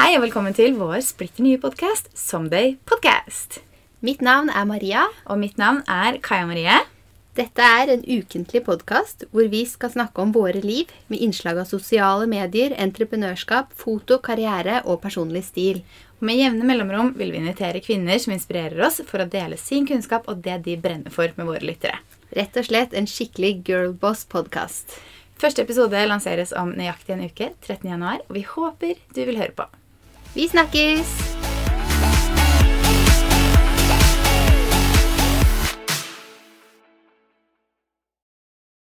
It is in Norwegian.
Hei og velkommen til vår splitter nye podkast Someday Podcast. Mitt navn er Maria. Og mitt navn er Kaja Marie. Dette er en ukentlig podkast hvor vi skal snakke om våre liv med innslag av sosiale medier, entreprenørskap, foto, karriere og personlig stil. Og Med jevne mellomrom vil vi invitere kvinner som inspirerer oss, for å dele sin kunnskap og det de brenner for med våre lyttere. Rett og slett en skikkelig girlboss-podkast. Første episode lanseres om nøyaktig en uke, 13. januar, og vi håper du vil høre på. Vi snakkes!